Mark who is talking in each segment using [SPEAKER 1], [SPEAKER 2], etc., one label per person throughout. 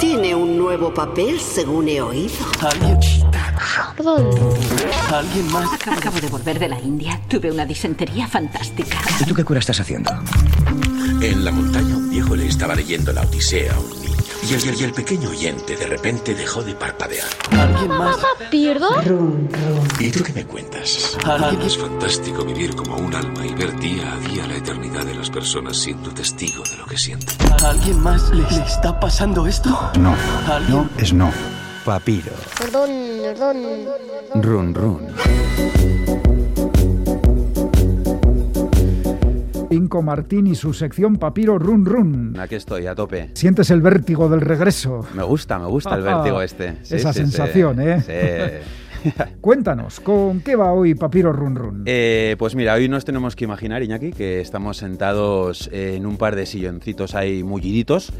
[SPEAKER 1] Tiene un nuevo papel, según he oído.
[SPEAKER 2] Alguien. Alguien más.
[SPEAKER 3] Acabo, acabo de volver de la India. Tuve una disentería fantástica.
[SPEAKER 4] ¿Y tú qué cura estás haciendo?
[SPEAKER 5] En la montaña un viejo le estaba leyendo la Odisea a un niño. Y el, y el pequeño oyente de repente dejó de parpadear.
[SPEAKER 2] Alguien más.
[SPEAKER 6] ¿Pierdo?
[SPEAKER 5] ¿Y tú qué me cuentas?
[SPEAKER 2] Alguien.
[SPEAKER 7] Es fantástico vivir como un alma y ver día a día la eternidad de las personas siendo testigo de lo que sienten.
[SPEAKER 2] ¿Alguien más le, le está pasando esto?
[SPEAKER 8] No.
[SPEAKER 2] ¿Alguien?
[SPEAKER 8] No es no. Papiro.
[SPEAKER 6] Perdón, perdón.
[SPEAKER 8] Run, run.
[SPEAKER 9] Inco Martín y su sección Papiro Run Run.
[SPEAKER 10] Aquí estoy, a tope.
[SPEAKER 9] Sientes el vértigo del regreso.
[SPEAKER 10] Me gusta, me gusta el vértigo este. Sí,
[SPEAKER 9] Esa
[SPEAKER 10] sí,
[SPEAKER 9] sensación,
[SPEAKER 10] sí.
[SPEAKER 9] ¿eh?
[SPEAKER 10] Sí.
[SPEAKER 9] Cuéntanos, ¿con qué va hoy Papiro Run Run?
[SPEAKER 10] Eh, pues mira, hoy nos tenemos que imaginar, Iñaki, que estamos sentados en un par de silloncitos ahí mulliditos.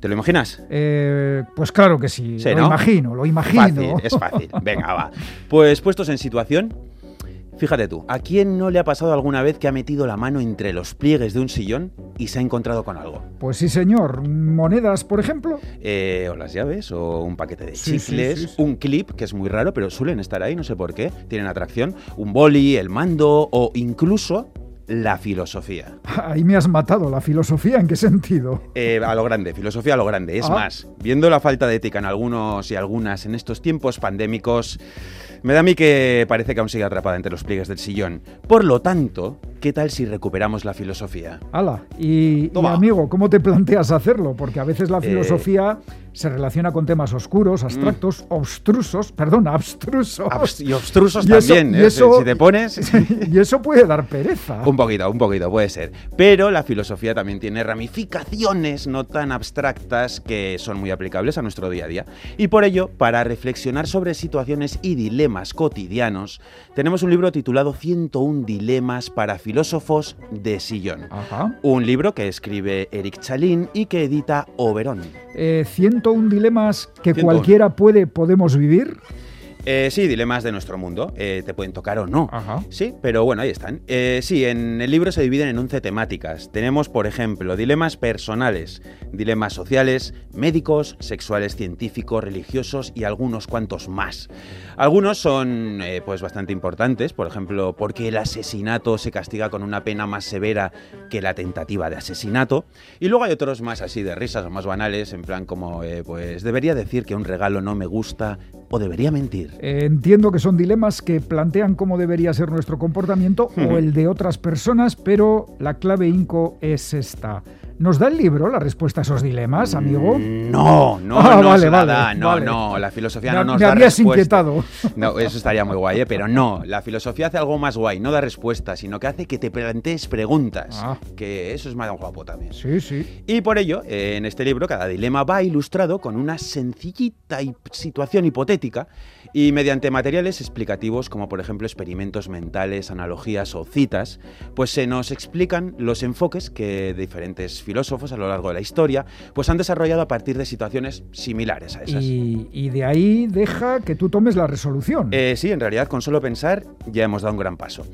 [SPEAKER 10] ¿Te lo imaginas?
[SPEAKER 9] Eh, pues claro que sí,
[SPEAKER 10] Sí,
[SPEAKER 9] lo
[SPEAKER 10] ¿no?
[SPEAKER 9] imagino, lo imagino.
[SPEAKER 10] Fácil, es fácil. Venga, va. Pues puestos en situación, fíjate tú, ¿a quién no le ha pasado alguna vez que ha metido la mano entre los pliegues de un sillón y se ha encontrado con algo?
[SPEAKER 9] Pues sí, señor. Monedas, por ejemplo.
[SPEAKER 10] Eh, o las llaves, o un paquete de
[SPEAKER 9] Sí, sí,
[SPEAKER 10] chicles,
[SPEAKER 9] sí, sí.
[SPEAKER 10] un clip, que es muy raro, pero suelen estar ahí, no sé por qué, tienen atracción, un boli, el mando o incluso la filosofía.
[SPEAKER 9] Ahí me has matado la filosofía, ¿en qué sentido?
[SPEAKER 10] Eh, a lo grande, filosofía a lo grande. Es
[SPEAKER 9] Ah.
[SPEAKER 10] más, viendo la falta de ética en algunos y algunas en estos tiempos pandémicos, me da a mí que parece que aún sigue atrapada entre los pliegues del sillón. Por lo tanto, ¿qué tal si recuperamos la filosofía?
[SPEAKER 9] Ala, y, y,
[SPEAKER 10] Toma. Eh.
[SPEAKER 9] amigo, ¿cómo te planteas hacerlo? Porque a veces la filosofía se relaciona con temas
[SPEAKER 10] Mm.
[SPEAKER 9] oscuros, abstractos, obstrusos, perdón, abstrusos.
[SPEAKER 10] Abs- y obstrusos
[SPEAKER 9] Oh. Y eso-
[SPEAKER 10] también,
[SPEAKER 9] y
[SPEAKER 10] ¿eh? Si-
[SPEAKER 9] eso-
[SPEAKER 10] si te pones...
[SPEAKER 9] y eso puede dar pereza.
[SPEAKER 10] Ah. Un poquito, un poquito, puede ser. Pero la filosofía también tiene ramificaciones no tan abstractas que son muy aplicables a nuestro día a día. Y por ello, para reflexionar sobre situaciones y dilemas cotidianos, tenemos un libro titulado 101 dilemas para filósofos de sillón.
[SPEAKER 9] Ajá.
[SPEAKER 10] Un libro que escribe Eric Chalín y que edita Oberón.
[SPEAKER 9] Eh, 101 dilemas que
[SPEAKER 10] 101.
[SPEAKER 9] cualquiera puede, podemos vivir.
[SPEAKER 10] Eh, sí, dilemas de nuestro mundo. eh, te pueden tocar o no.
[SPEAKER 9] Ajá.
[SPEAKER 10] Sí, pero bueno, ahí están. Eh, sí, en el libro se dividen en 11 temáticas. Tenemos, por ejemplo, dilemas personales, dilemas sociales, médicos, sexuales, científicos, religiosos y algunos cuantos más. Algunos son eh, pues bastante importantes, por ejemplo, por qué el asesinato se castiga con una pena más severa que la tentativa de asesinato. Y luego hay otros más así de risas o más banales, en plan como, eh, pues debería decir que un regalo no me gusta o debería mentir.
[SPEAKER 9] Eh, entiendo que son dilemas que plantean cómo debería ser nuestro comportamiento o el de otras personas, pero la clave Inco es esta. ¿Nos da el libro la respuesta a esos dilemas, amigo?
[SPEAKER 10] No, no,
[SPEAKER 9] Ah,
[SPEAKER 10] no
[SPEAKER 9] vale,
[SPEAKER 10] se la
[SPEAKER 9] vale,
[SPEAKER 10] da, no,
[SPEAKER 9] vale.
[SPEAKER 10] no, la filosofía
[SPEAKER 9] Me-
[SPEAKER 10] no nos
[SPEAKER 9] me
[SPEAKER 10] da
[SPEAKER 9] habías
[SPEAKER 10] respuesta.
[SPEAKER 9] inquietado.
[SPEAKER 10] No, eso estaría muy guay, ¿eh? pero no, la filosofía hace algo más guay, no da respuestas, sino que hace que te plantees preguntas,
[SPEAKER 9] Ah.
[SPEAKER 10] que eso es más guapo también.
[SPEAKER 9] Sí, sí.
[SPEAKER 10] Y por ello, eh, en este libro, cada dilema va ilustrado con una sencillita hip- situación hipotética y mediante materiales explicativos como por ejemplo experimentos mentales, analogías o citas, pues se nos explican los enfoques que diferentes filósofos a lo largo de la historia pues han desarrollado a partir de situaciones similares a esas.
[SPEAKER 9] Y, y de ahí deja que tú tomes la resolución.
[SPEAKER 10] Eh, sí, en realidad con solo pensar ya hemos dado un gran paso.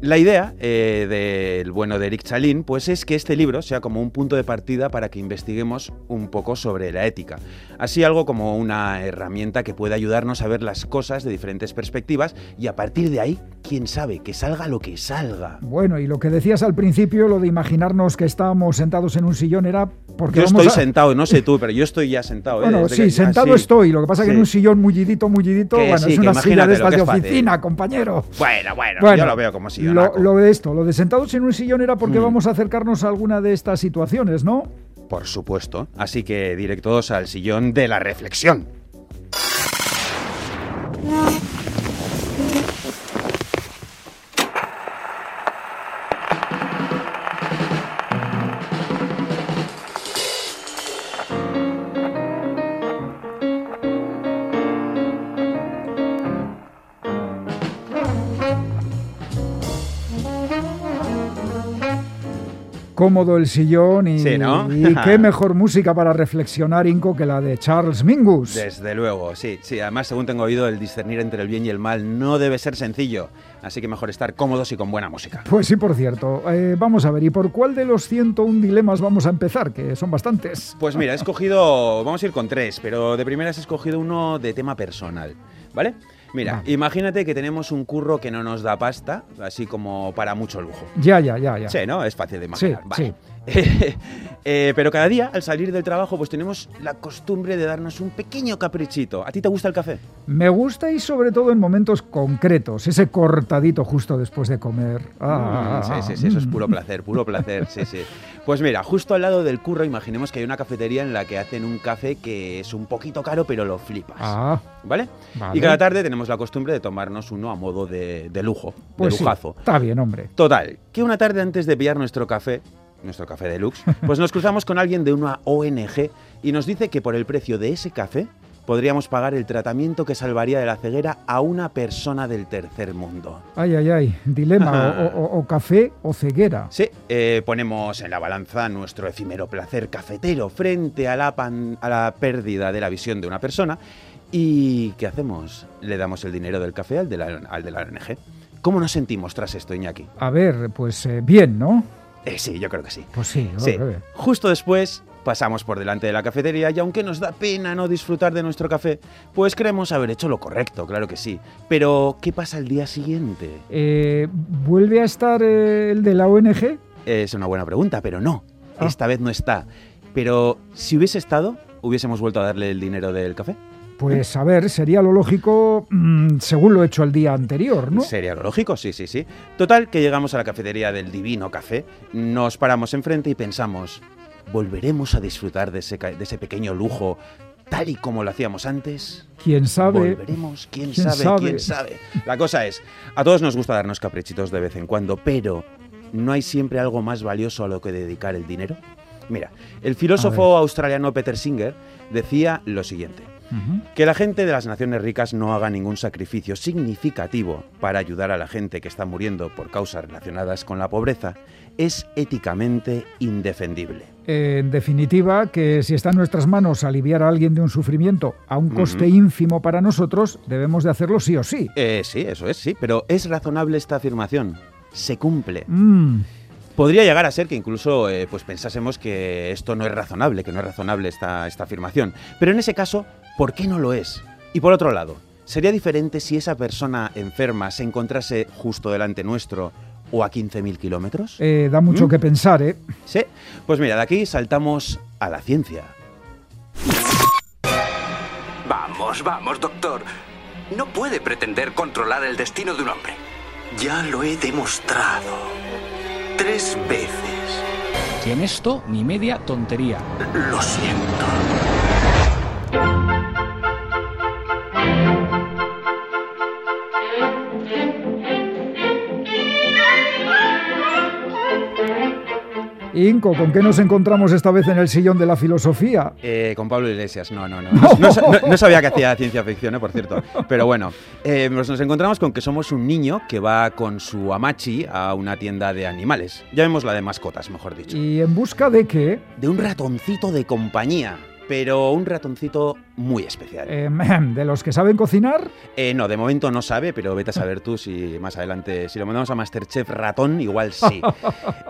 [SPEAKER 10] La idea eh, del bueno de Eric Chalín pues es que este libro sea como un punto de partida para que investiguemos un poco sobre la ética. Así algo como una herramienta que puede ayudarnos a ver las cosas de diferentes perspectivas y a partir de ahí, quién sabe, que salga lo que salga.
[SPEAKER 9] Bueno, y lo que decías al principio, lo de imaginarnos que estábamos sentados en un sillón era porque
[SPEAKER 10] Yo
[SPEAKER 9] vamos
[SPEAKER 10] estoy
[SPEAKER 9] a-
[SPEAKER 10] sentado, no sé tú, pero yo estoy ya sentado. ¿eh?
[SPEAKER 9] Bueno,
[SPEAKER 10] Desde
[SPEAKER 9] sí,
[SPEAKER 10] que-
[SPEAKER 9] sentado
[SPEAKER 10] así.
[SPEAKER 9] estoy. Lo que pasa es que en
[SPEAKER 10] Sí.
[SPEAKER 9] un sillón mullidito, mullidito,
[SPEAKER 10] Que
[SPEAKER 9] bueno,
[SPEAKER 10] sí,
[SPEAKER 9] es
[SPEAKER 10] que
[SPEAKER 9] una silla
[SPEAKER 10] imagínate
[SPEAKER 9] de
[SPEAKER 10] lo
[SPEAKER 9] estas
[SPEAKER 10] que
[SPEAKER 9] de
[SPEAKER 10] es fácil.
[SPEAKER 9] oficina, compañero.
[SPEAKER 10] Bueno, bueno, yo
[SPEAKER 9] Bueno,
[SPEAKER 10] lo veo como si...
[SPEAKER 9] lo, lo de esto, lo de sentados en un sillón era porque
[SPEAKER 10] Mm.
[SPEAKER 9] vamos a acercarnos a alguna de estas situaciones, ¿no?
[SPEAKER 10] Por supuesto. Así que directos al sillón de la reflexión.
[SPEAKER 9] cómodo el sillón y,
[SPEAKER 10] Sí, ¿no?
[SPEAKER 9] y qué mejor música para reflexionar, Inco, que la de Charles Mingus.
[SPEAKER 10] Desde luego, sí, sí. Además, según tengo oído, el discernir entre el bien y el mal no debe ser sencillo. Así que mejor estar cómodos y con buena música.
[SPEAKER 9] Pues sí, por cierto. Eh, vamos a ver, ¿y por cuál de los 101 dilemas vamos a empezar? Que son bastantes.
[SPEAKER 10] Pues mira, he escogido, vamos a ir con tres, pero de primeras he escogido uno de tema personal, ¿vale? Mira,
[SPEAKER 9] Vale.
[SPEAKER 10] imagínate que tenemos un curro que no nos da pasta, así como para mucho lujo.
[SPEAKER 9] Ya, ya, ya, ya.
[SPEAKER 10] Sí, ¿no? Es fácil de imaginar.
[SPEAKER 9] Sí,
[SPEAKER 10] vale. Eh, pero cada día, al salir del trabajo, pues tenemos la costumbre de darnos un pequeño caprichito. ¿A ti te gusta el café?
[SPEAKER 9] Me gusta y sobre todo en momentos concretos, ese cortadito justo después de comer. Ah,
[SPEAKER 10] Mm, sí, sí, sí, eso es puro placer, puro placer, sí, sí. Pues mira, justo al lado del curro, imaginemos que hay una cafetería en la que hacen un café que es un poquito caro, pero lo flipas.
[SPEAKER 9] Ah,
[SPEAKER 10] ¿Vale?
[SPEAKER 9] Vale.
[SPEAKER 10] Y cada tarde tenemos la costumbre de tomarnos uno a modo de, de lujo,
[SPEAKER 9] pues
[SPEAKER 10] de
[SPEAKER 9] sí,
[SPEAKER 10] lujazo.
[SPEAKER 9] está bien, hombre.
[SPEAKER 10] Total, que una tarde antes de pillar nuestro café, nuestro café deluxe, pues nos cruzamos con alguien de una ONG y nos dice que por el precio de ese café podríamos pagar el tratamiento que salvaría de la ceguera a una persona del tercer mundo.
[SPEAKER 9] Ay, ay, ay, dilema, o, o- o café o ceguera.
[SPEAKER 10] Sí, eh, ponemos en la balanza nuestro efímero placer cafetero frente a la, pan- a la pérdida de la visión de una persona. ¿Y qué hacemos? Le damos el dinero del café al de la, al de la ONG. ¿Cómo nos sentimos tras esto, Iñaki?
[SPEAKER 9] A ver, pues eh, bien, ¿no?
[SPEAKER 10] Eh, sí, yo creo que sí.
[SPEAKER 9] Pues sí,
[SPEAKER 10] Sí,
[SPEAKER 9] hombre.
[SPEAKER 10] justo después pasamos por delante de la cafetería y aunque nos da pena no disfrutar de nuestro café, pues creemos haber hecho lo correcto, claro que sí. Pero, ¿qué pasa el día siguiente?
[SPEAKER 9] Eh, ¿Vuelve a estar eh, el de la ONG?
[SPEAKER 10] Es una buena pregunta, pero no.
[SPEAKER 9] Ah.
[SPEAKER 10] Esta vez no está. Pero si hubiese estado, hubiésemos vuelto a darle el dinero del café.
[SPEAKER 9] Pues a ver, sería lo lógico mm, según lo hecho el día anterior, ¿no?
[SPEAKER 10] Sería lo lógico, sí, sí, sí. Total, que llegamos a la cafetería del divino café, nos paramos enfrente y pensamos, ¿volveremos a disfrutar de ese, ca- de ese pequeño lujo tal y como lo hacíamos antes?
[SPEAKER 9] Quién sabe.
[SPEAKER 10] Volveremos, quién,
[SPEAKER 9] ¿Quién
[SPEAKER 10] sabe,
[SPEAKER 9] sabe?
[SPEAKER 10] quién sabe. La cosa es, a todos nos gusta darnos caprichitos de vez en cuando, pero ¿no hay siempre algo más valioso a lo que dedicar el dinero? Mira, el filósofo australiano Peter Singer decía lo siguiente.
[SPEAKER 9] Ujú.
[SPEAKER 10] Que la gente de las naciones ricas no haga ningún sacrificio significativo para ayudar a la gente que está muriendo por causas relacionadas con la pobreza es éticamente indefendible.
[SPEAKER 9] En definitiva, que si está en nuestras manos aliviar a alguien de un sufrimiento a un coste
[SPEAKER 10] Ujú.
[SPEAKER 9] ínfimo para nosotros, debemos de hacerlo sí o sí.
[SPEAKER 10] Eh, sí, eso es, sí, pero ¿es razonable esta afirmación? Se cumple.
[SPEAKER 9] Mm,
[SPEAKER 10] Podría llegar a ser que incluso eh, pues pensásemos que esto no es razonable, que no es razonable esta, esta afirmación. Pero en ese caso, ¿por qué no lo es? Y por otro lado, ¿sería diferente si esa persona enferma se encontrase justo delante nuestro o a 15.000 kilómetros?
[SPEAKER 9] eh, da mucho
[SPEAKER 10] Mm.
[SPEAKER 9] que pensar, ¿eh?
[SPEAKER 10] Sí. Pues mira, de aquí saltamos a la ciencia.
[SPEAKER 4] Vamos, vamos, doctor. No puede pretender controlar el destino de un hombre. Ya lo he demostrado. Tres veces.
[SPEAKER 11] Y en esto, ni media tontería.
[SPEAKER 4] Lo siento.
[SPEAKER 9] Inco, ¿con qué nos encontramos esta vez en el sillón de la filosofía?
[SPEAKER 10] Eh, con Pablo Iglesias, no, no, no. No, no sa- no- no sabía que hacía ciencia ficción, eh, por cierto. Pero bueno, eh, nos, nos encontramos con que somos un niño que va con su amachi a una tienda de animales. Llamémosla de mascotas, mejor dicho.
[SPEAKER 9] ¿Y en busca de qué?
[SPEAKER 10] De un ratoncito de compañía, pero un ratoncito muy especial.
[SPEAKER 9] Eh, ¿De los que saben cocinar?
[SPEAKER 10] Eh, no, de momento no sabe, pero vete a saber tú si más adelante, si lo mandamos a Masterchef ratón, igual sí.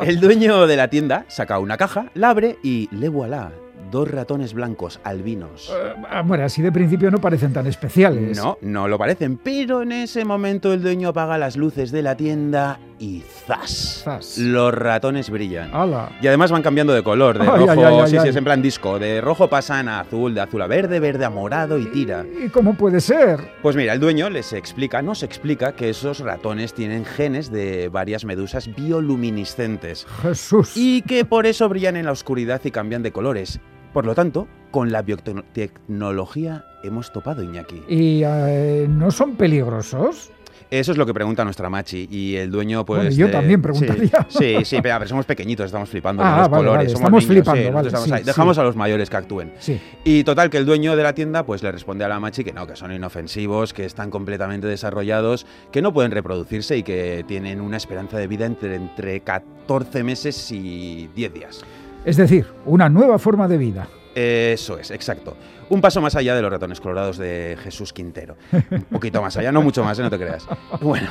[SPEAKER 10] El dueño de la tienda saca una caja, la abre y le voilà, dos ratones blancos albinos.
[SPEAKER 9] Eh, bueno, así de principio no parecen tan especiales.
[SPEAKER 10] No, no lo parecen, pero en ese momento el dueño apaga las luces de la tienda y ¡zas!
[SPEAKER 9] Zas.
[SPEAKER 10] Los ratones brillan.
[SPEAKER 9] ¡Hala!
[SPEAKER 10] Y además van cambiando de color, de
[SPEAKER 9] Ay,
[SPEAKER 10] rojo,
[SPEAKER 9] ay, ay, ay,
[SPEAKER 10] sí, sí,
[SPEAKER 9] ay.
[SPEAKER 10] es en plan disco, de rojo pasan a azul, de azul a verde, verde a morado y tira.
[SPEAKER 9] ¿Y cómo puede ser?
[SPEAKER 10] Pues mira, el dueño les explica, nos explica que esos ratones tienen genes de varias medusas bioluminiscentes
[SPEAKER 9] Jesús.
[SPEAKER 10] y que por eso brillan en la oscuridad y cambian de colores. Por lo tanto, con la biotecnología hemos topado, Iñaki.
[SPEAKER 9] ¿Y eh, no son peligrosos?
[SPEAKER 10] Eso es lo que pregunta nuestra Machi. Y el dueño, pues.
[SPEAKER 9] Bueno, y yo
[SPEAKER 10] de-
[SPEAKER 9] también preguntaría.
[SPEAKER 10] Sí, sí, sí, pero, a ver, somos pequeñitos, estamos flipando
[SPEAKER 9] Ah,
[SPEAKER 10] con los
[SPEAKER 9] vale,
[SPEAKER 10] colores.
[SPEAKER 9] vale,
[SPEAKER 10] somos
[SPEAKER 9] estamos
[SPEAKER 10] niños,
[SPEAKER 9] flipando,
[SPEAKER 10] sí,
[SPEAKER 9] vale,
[SPEAKER 10] nosotros estamos
[SPEAKER 9] sí,
[SPEAKER 10] ahí.
[SPEAKER 9] sí.
[SPEAKER 10] Dejamos a los mayores que actúen.
[SPEAKER 9] Sí.
[SPEAKER 10] Y total, que el dueño de la tienda, pues le responde a la Machi que no, que son inofensivos, que están completamente desarrollados, que no pueden reproducirse y que tienen una esperanza de vida entre, entre 14 meses y 10 días.
[SPEAKER 9] Es decir, una nueva forma de vida.
[SPEAKER 10] Eso es, exacto. Un paso más allá de los ratones colorados de Jesús Quintero. Un poquito más allá, no mucho más, ¿eh? no te creas. Bueno,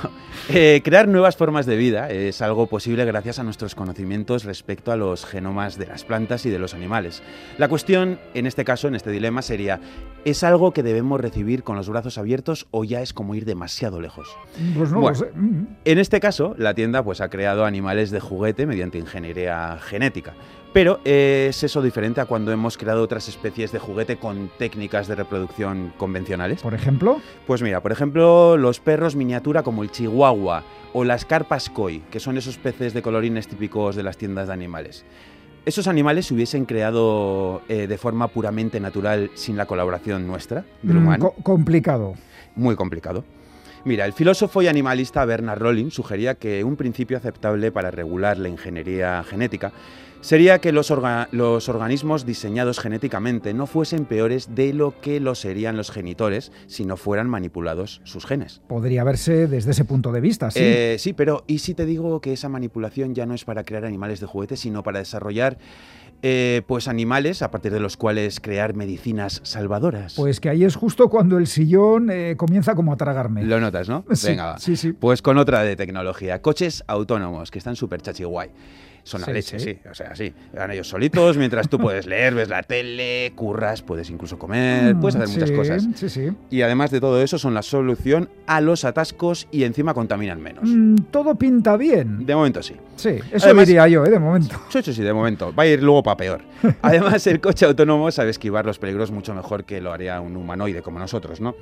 [SPEAKER 10] eh, crear nuevas formas de vida es algo posible gracias a nuestros conocimientos respecto a los genomas de las plantas y de los animales. La cuestión, en este caso, en este dilema, sería, ¿es algo que debemos recibir con los brazos abiertos o ya es como ir demasiado lejos?
[SPEAKER 9] Pues no
[SPEAKER 10] Bueno.
[SPEAKER 9] lo sé. Mm.
[SPEAKER 10] En este caso, la tienda pues, ha creado animales de juguete mediante ingeniería genética. Pero eh, es eso diferente a cuando hemos creado otras especies de juguete con técnicas de reproducción convencionales.
[SPEAKER 9] Por ejemplo,
[SPEAKER 10] Pues mira, por ejemplo, los perros miniatura como el chihuahua o las carpas koi, que son esos peces de colorines típicos de las tiendas de animales. ¿Esos animales se hubiesen creado eh, de forma puramente natural sin la colaboración nuestra, del
[SPEAKER 9] mm,
[SPEAKER 10] humano?
[SPEAKER 9] co- complicado.
[SPEAKER 10] muy complicado. Mira, el filósofo y animalista Bernard Rolling sugería que un principio aceptable para regular la ingeniería genética sería que los, orga- los organismos diseñados genéticamente no fuesen peores de lo que lo serían los genitores si no fueran manipulados sus genes.
[SPEAKER 9] Podría verse desde ese punto de vista, sí.
[SPEAKER 10] Eh, sí, pero ¿y si te digo que esa manipulación ya no es para crear animales de juguete, sino para desarrollar eh, pues animales a partir de los cuales crear medicinas salvadoras?
[SPEAKER 9] Pues que ahí es justo cuando el sillón eh, comienza como a tragarme.
[SPEAKER 10] Lo notas, ¿no?
[SPEAKER 9] Sí,
[SPEAKER 10] Venga, va.
[SPEAKER 9] sí, sí.
[SPEAKER 10] Pues con otra de tecnología. Coches autónomos, que están súper chachi guay. Son la
[SPEAKER 9] Sí,
[SPEAKER 10] leche,
[SPEAKER 9] sí.
[SPEAKER 10] sí. O sea, sí. Van ellos solitos, mientras tú puedes leer, ves la tele, curras, puedes incluso comer, Eh, puedes hacer
[SPEAKER 9] Mm,
[SPEAKER 10] muchas
[SPEAKER 9] sí,
[SPEAKER 10] cosas.
[SPEAKER 9] Sí, sí.
[SPEAKER 10] Y además de todo eso, son la solución a los atascos y encima contaminan menos.
[SPEAKER 9] Mm, todo pinta bien.
[SPEAKER 10] De momento sí.
[SPEAKER 9] Sí, eso
[SPEAKER 10] Además-
[SPEAKER 9] diría yo, eh, de momento.
[SPEAKER 10] Sí, sí, sí, de momento. Va a ir luego para peor. Además, el coche autónomo sabe esquivar los peligros mucho mejor que lo haría un humanoide como nosotros, ¿no?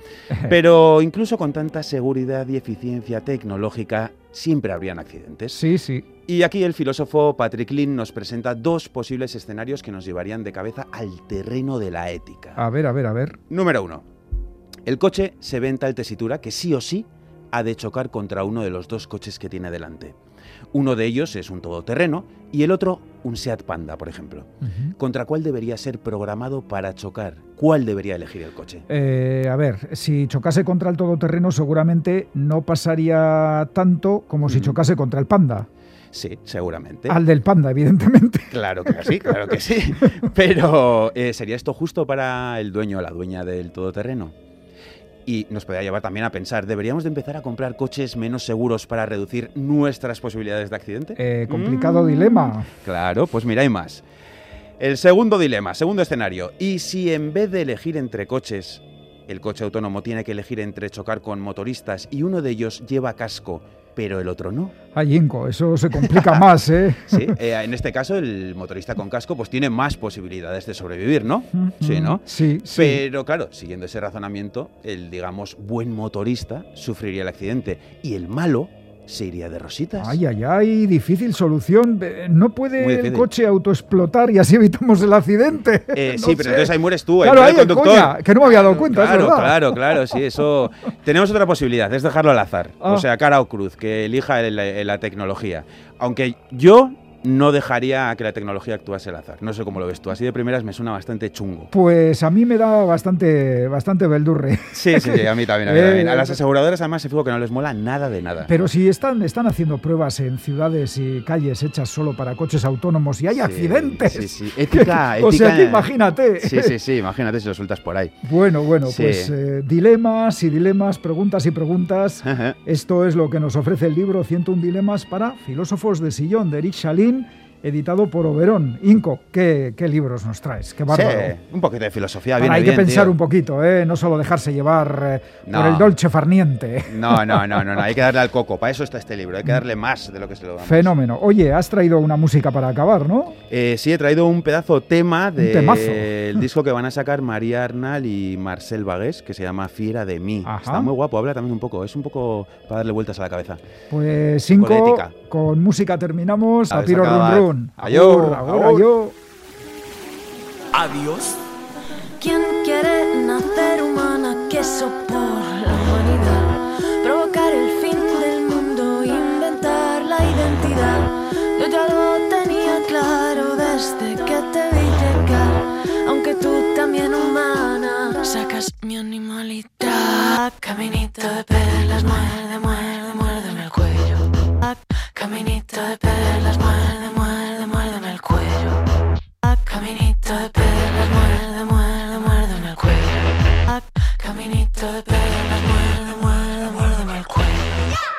[SPEAKER 10] Pero incluso con tanta seguridad y eficiencia tecnológica, siempre habrían accidentes.
[SPEAKER 9] Sí, sí.
[SPEAKER 10] Y aquí el filósofo Patrick Lynn nos presenta dos posibles escenarios que nos llevarían de cabeza al terreno de la ética.
[SPEAKER 9] A ver, a ver, a ver.
[SPEAKER 10] Número uno. El coche se ve en tal tesitura que sí o sí ha de chocar contra uno de los dos coches que tiene delante. Uno de ellos es un todoterreno y el otro un Seat Panda, por ejemplo.
[SPEAKER 9] Ujú.
[SPEAKER 10] ¿Contra cuál debería ser programado para chocar? ¿Cuál debería elegir el coche?
[SPEAKER 9] Eh, a ver, si chocase contra el todoterreno seguramente no pasaría tanto como si
[SPEAKER 10] Ujú.
[SPEAKER 9] chocase contra el panda.
[SPEAKER 10] Mm. Sí, seguramente.
[SPEAKER 9] Al del panda, evidentemente.
[SPEAKER 10] Claro que sí, claro que sí. Pero eh, ¿sería esto justo para el dueño o la dueña del todoterreno? Y nos podría llevar también a pensar, ¿deberíamos de empezar a comprar coches menos seguros para reducir nuestras posibilidades de accidente?
[SPEAKER 9] Eh, complicado
[SPEAKER 10] Mm.
[SPEAKER 9] dilema.
[SPEAKER 10] Claro, pues mira, hay más. El segundo dilema, segundo escenario. ¿Y si en vez de elegir entre coches, el coche autónomo tiene que elegir entre chocar con motoristas y uno de ellos lleva casco, pero el otro no?
[SPEAKER 9] Ay, Inco, eso se complica más, ¿eh?
[SPEAKER 10] Sí, eh, en este caso el motorista con casco pues tiene más posibilidades de sobrevivir, ¿no? Sí, ¿no?
[SPEAKER 9] Sí, sí.
[SPEAKER 10] Pero claro, siguiendo ese razonamiento, el digamos buen motorista sufriría el accidente y el malo se iría de rositas. Eh,
[SPEAKER 9] Ay, ay, ay, difícil solución. Eh, No
[SPEAKER 10] Muy
[SPEAKER 9] puede el
[SPEAKER 10] difícil.
[SPEAKER 9] coche autoexplotar y así evitamos el accidente.
[SPEAKER 10] Eh,
[SPEAKER 9] No
[SPEAKER 10] sí, pero
[SPEAKER 9] sé.
[SPEAKER 10] entonces ahí mueres tú, ahí
[SPEAKER 9] Claro,
[SPEAKER 10] muere
[SPEAKER 9] ahí,
[SPEAKER 10] el conductor.
[SPEAKER 9] coña, que no me había dado cuenta, es
[SPEAKER 10] Claro,
[SPEAKER 9] verdad.
[SPEAKER 10] claro, claro, sí, eso. Tenemos otra posibilidad, es dejarlo al azar.
[SPEAKER 9] Ah.
[SPEAKER 10] O sea, cara o cruz, que elija el- el- la tecnología. Aunque yo no dejaría que la tecnología actuase al azar. No sé cómo lo ves tú, así de primeras me suena bastante chungo.
[SPEAKER 9] Pues a mí me da bastante, bastante beldurre.
[SPEAKER 10] Sí, sí, sí, a mí también. A, mí
[SPEAKER 9] Eh,
[SPEAKER 10] también. A las aseguradoras además se fijo que no les mola nada de nada.
[SPEAKER 9] Pero si están, están haciendo pruebas en ciudades y calles hechas solo para coches autónomos y hay
[SPEAKER 10] Sí,
[SPEAKER 9] accidentes.
[SPEAKER 10] Sí, sí, ética, ética.
[SPEAKER 9] O sea, que imagínate.
[SPEAKER 10] Sí, sí, sí, imagínate si lo sueltas por ahí.
[SPEAKER 9] Bueno, bueno,
[SPEAKER 10] Sí.
[SPEAKER 9] pues eh, dilemas y dilemas, preguntas y preguntas.
[SPEAKER 10] Ajá.
[SPEAKER 9] Esto es lo que nos ofrece el libro 101 dilemas para filósofos de sillón de Eric Chalin, editado por Oberón. Inco, ¿qué, qué libros nos traes? Qué
[SPEAKER 10] Sí,
[SPEAKER 9] bárbaro.
[SPEAKER 10] un poquito de filosofía,
[SPEAKER 9] Ahora
[SPEAKER 10] viene
[SPEAKER 9] hay
[SPEAKER 10] bien,
[SPEAKER 9] que pensar
[SPEAKER 10] tío.
[SPEAKER 9] un poquito, ¿eh? no solo dejarse llevar eh,
[SPEAKER 10] No.
[SPEAKER 9] por el dolce farniente.
[SPEAKER 10] No, no, no, no, no, hay que darle al coco. Para eso está este libro, hay que darle más de lo que se lo damos.
[SPEAKER 9] Fenómeno. Oye, has traído una música para acabar, ¿no?
[SPEAKER 10] Eh, sí, he traído un pedazo tema del
[SPEAKER 9] temazo.
[SPEAKER 10] disco que van a sacar María Arnal y Marcel Bagués, que se llama Fiera de mí.
[SPEAKER 9] Ajá.
[SPEAKER 10] Está muy guapo, habla también un poco, es un poco para darle vueltas a la cabeza.
[SPEAKER 9] Pues cinco,
[SPEAKER 10] ética.
[SPEAKER 9] con música terminamos.
[SPEAKER 10] A
[SPEAKER 9] A
[SPEAKER 10] ver,
[SPEAKER 9] tiro run
[SPEAKER 10] acaba.
[SPEAKER 9] run.
[SPEAKER 10] Ayor,
[SPEAKER 9] Agur, agur,
[SPEAKER 10] agur.
[SPEAKER 9] ayor.
[SPEAKER 4] Adiós.
[SPEAKER 12] ¿Quién quiere nacer humana que sopor la humanidad? Provocar el vida. Yo ya lo tenía claro desde que te vi llegar. Aunque tú también humana, sacas mi animalidad. Caminito de perlas, muerde, muerde, muérdeme el cuello. Caminito de perlas, muerde.